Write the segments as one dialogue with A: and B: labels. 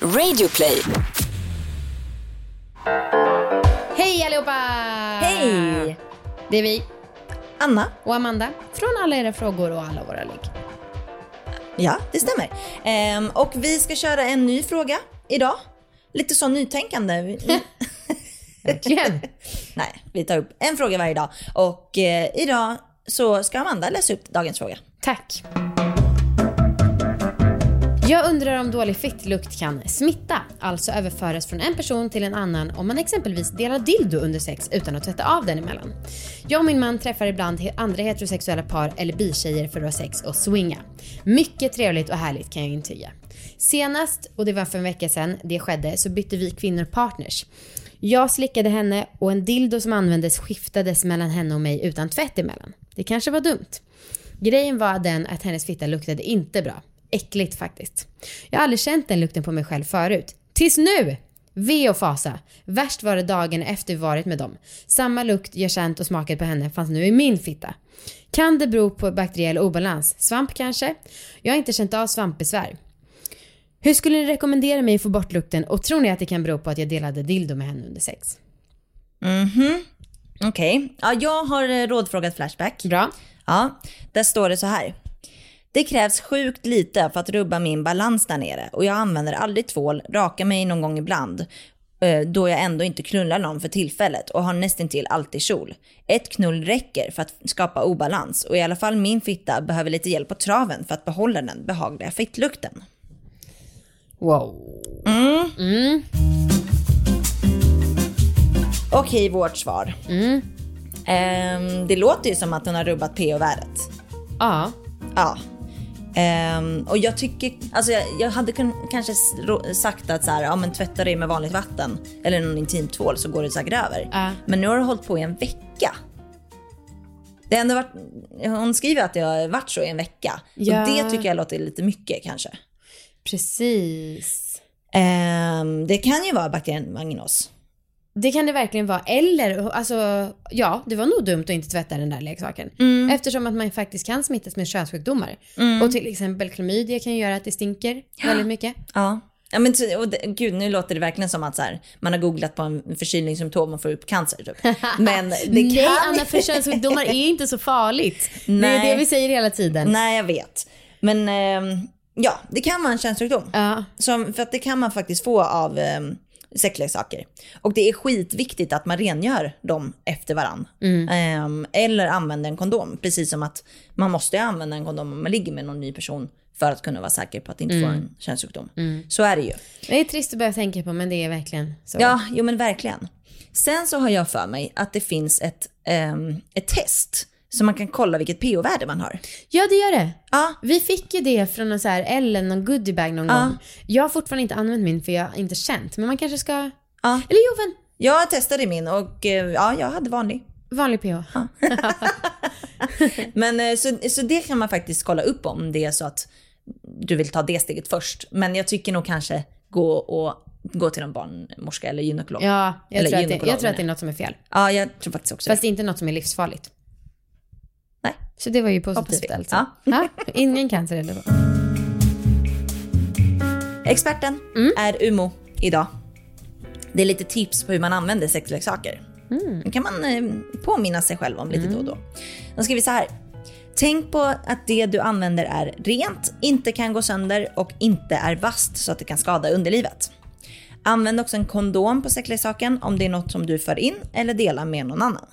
A: Radioplay.
B: Hej allihopa!
C: Hej!
B: Det är vi
C: Anna.
B: och Amanda från alla era frågor och alla våra ligg.
C: Ja, det stämmer. Ehm, och vi ska köra en ny fråga idag. Lite så nytänkande. Vi-
B: Verkligen.
C: Nej, vi tar upp en fråga varje dag. Och eh, idag så ska Amanda läsa upp dagens fråga.
B: Tack. Jag undrar om dålig fittlukt kan smitta, alltså överföras från en person till en annan om man exempelvis delar dildo under sex utan att tvätta av den emellan. Jag och min man träffar ibland he- andra heterosexuella par eller bitjejer för att ha sex och swinga. Mycket trevligt och härligt kan jag intyga. Senast, och det var för en vecka sedan det skedde, så bytte vi kvinnor partners. Jag slickade henne och en dildo som användes skiftades mellan henne och mig utan tvätt emellan. Det kanske var dumt. Grejen var den att hennes fitta luktade inte bra. Äckligt faktiskt. Jag har aldrig känt den lukten på mig själv förut. Tills nu! Ve och fasa. Värst var det dagen efter vi varit med dem. Samma lukt jag känt och smakat på henne fanns nu i min fitta. Kan det bero på bakteriell obalans? Svamp kanske? Jag har inte känt av svampbesvär. Hur skulle ni rekommendera mig att få bort lukten och tror ni att det kan bero på att jag delade dildo med henne under sex?
C: Okej. Ja, jag har eh, rådfrågat Flashback.
B: Bra.
C: Ja, där står det så här. Det krävs sjukt lite för att rubba min balans där nere och jag använder aldrig tvål, rakar mig någon gång ibland eh, då jag ändå inte knullar någon för tillfället och har nästintill alltid kjol. Ett knull räcker för att skapa obalans och i alla fall min fitta behöver lite hjälp på traven för att behålla den behagliga fittlukten.
B: Wow.
C: Okej, vårt svar. Ehm, det låter ju som att hon har rubbat PO-värdet.
B: Ja.
C: Ja. Ehm, och jag tycker, alltså jag, jag hade kun, kanske s- rå- sagt att så här, ja men tvätta dig med vanligt vatten eller någon intimtvål så går det säkert över.
B: Ja.
C: Men nu har det hållit på i en vecka. Det har ändå varit, hon skriver att det har varit så i en vecka.
B: Ja.
C: Och det tycker jag låter lite mycket kanske.
B: Precis.
C: Ehm, det kan ju vara bakterien vagnos.
B: Det kan det verkligen vara. Eller, alltså, ja, det var nog dumt att inte tvätta den där leksaken.
C: Mm.
B: Eftersom att man faktiskt kan smittas med könssjukdomar. Och till exempel klamydia kan ju göra att det stinker väldigt mycket.
C: Ja. Ja, men, ty- och det, gud, nu låter det verkligen som att så här, man har googlat på en förkylningssymptom och får upp cancer. Typ. Men det kan...
B: Nej, Anna, för könssjukdomar är inte så farligt. Det är
C: Nej.
B: det vi säger hela tiden.
C: Nej, jag vet. Men ehm, ja, det kan vara en könssjukdom.
B: Ja,
C: Som, för att det kan man faktiskt få av um, sexleksaker. Och det är skitviktigt att man rengör dem efter varann. Ehm, eller använder en kondom. Precis som att man måste använda en kondom om man ligger med någon ny person för att kunna vara säker på att inte få en könssjukdom. Så är det ju.
B: det är trist att börja tänka på, men det är verkligen så.
C: Mm. Ja, jo men verkligen. Sen så har jag för mig att det finns ett, ehm, ett test så man kan kolla vilket pH-värde man har.
B: ja det gör det.
C: Ja,
B: Vi fick ju det från någon så här Ellen, någon goodiebag någon gång. Jag har fortfarande inte använt min för jag har inte känt, men man kanske ska...
C: Ja.
B: Eller jo, vänta.
C: jag testade min och eh, ja, jag hade vanlig.
B: Vanlig PH.
C: Men eh, så, så det kan man faktiskt kolla upp om det är så att du vill ta det steget först. Men jag tycker nog kanske gå och gå till någon barnmorska eller gynekolog. Ja,
B: Ja, jag
C: Eller
B: tror, att det,
C: gynekolog,
B: jag tror att det
C: menar
B: är något som är fel.
C: jag tror faktiskt också
B: Fast det är inte något som är livsfarligt.
C: Nej.
B: Så det var ju
C: Hoppas
B: positivt
C: vi.
B: alltså.
C: Ja.
B: Ja, ingen cancer eller vad.
C: det. Experten är Umo idag. Det är lite tips på hur man använder sexleksaker. Det kan man eh, påminna sig själv om lite då och då. De skriver så här. Tänk på att det du använder är rent, inte kan gå sönder och inte är vasst så att det kan skada underlivet. Använd också en kondom på sexleksaken om det är något som du för in eller delar med någon annan.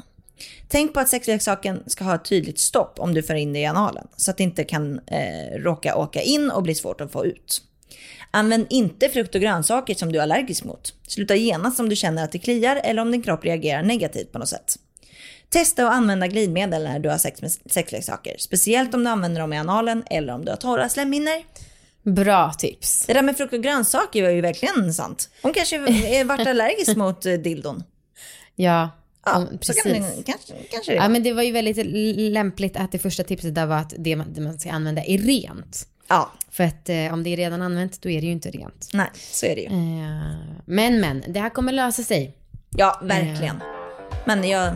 C: Tänk på att sexleksaken ska ha ett tydligt stopp om du för in det i analen så att det inte kan eh, råka åka in och bli svårt att få ut. Använd inte frukt och grönsaker som du är allergisk mot. Sluta genast om du känner att det kliar eller om din kropp reagerar negativt på något sätt. Testa att använda glidmedel när du har sex med sexleksaker. Speciellt om du använder dem i analen eller om du har torra slemhinnor.
B: Bra tips.
C: Det där med frukt och grönsaker var ju verkligen sant. Hon kanske är- vart allergisk mot eh, dildon.
B: Ja,
C: Ja,
B: om-
C: så
B: precis.
C: kan det, kanske, kanske det
B: Ja,
C: var.
B: men det var ju väldigt l- lämpligt att det första tipset där var att det man, det man ska använda är rent.
C: Ja,
B: För att eh, om det är redan använt, då är det ju inte rent.
C: nej, så är det ju.
B: Eh, men men, det här kommer lösa sig.
C: Ja, verkligen.
B: Eh.
C: Men jag... eh,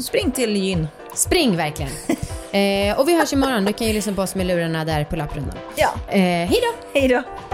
C: Spring till gyn.
B: Spring verkligen. Eh, och vi hörs imorgon. Du kan ju lyssna på oss med lurarna där på lapprundan.
C: Ja,
B: Eh, hej då!
C: hej då.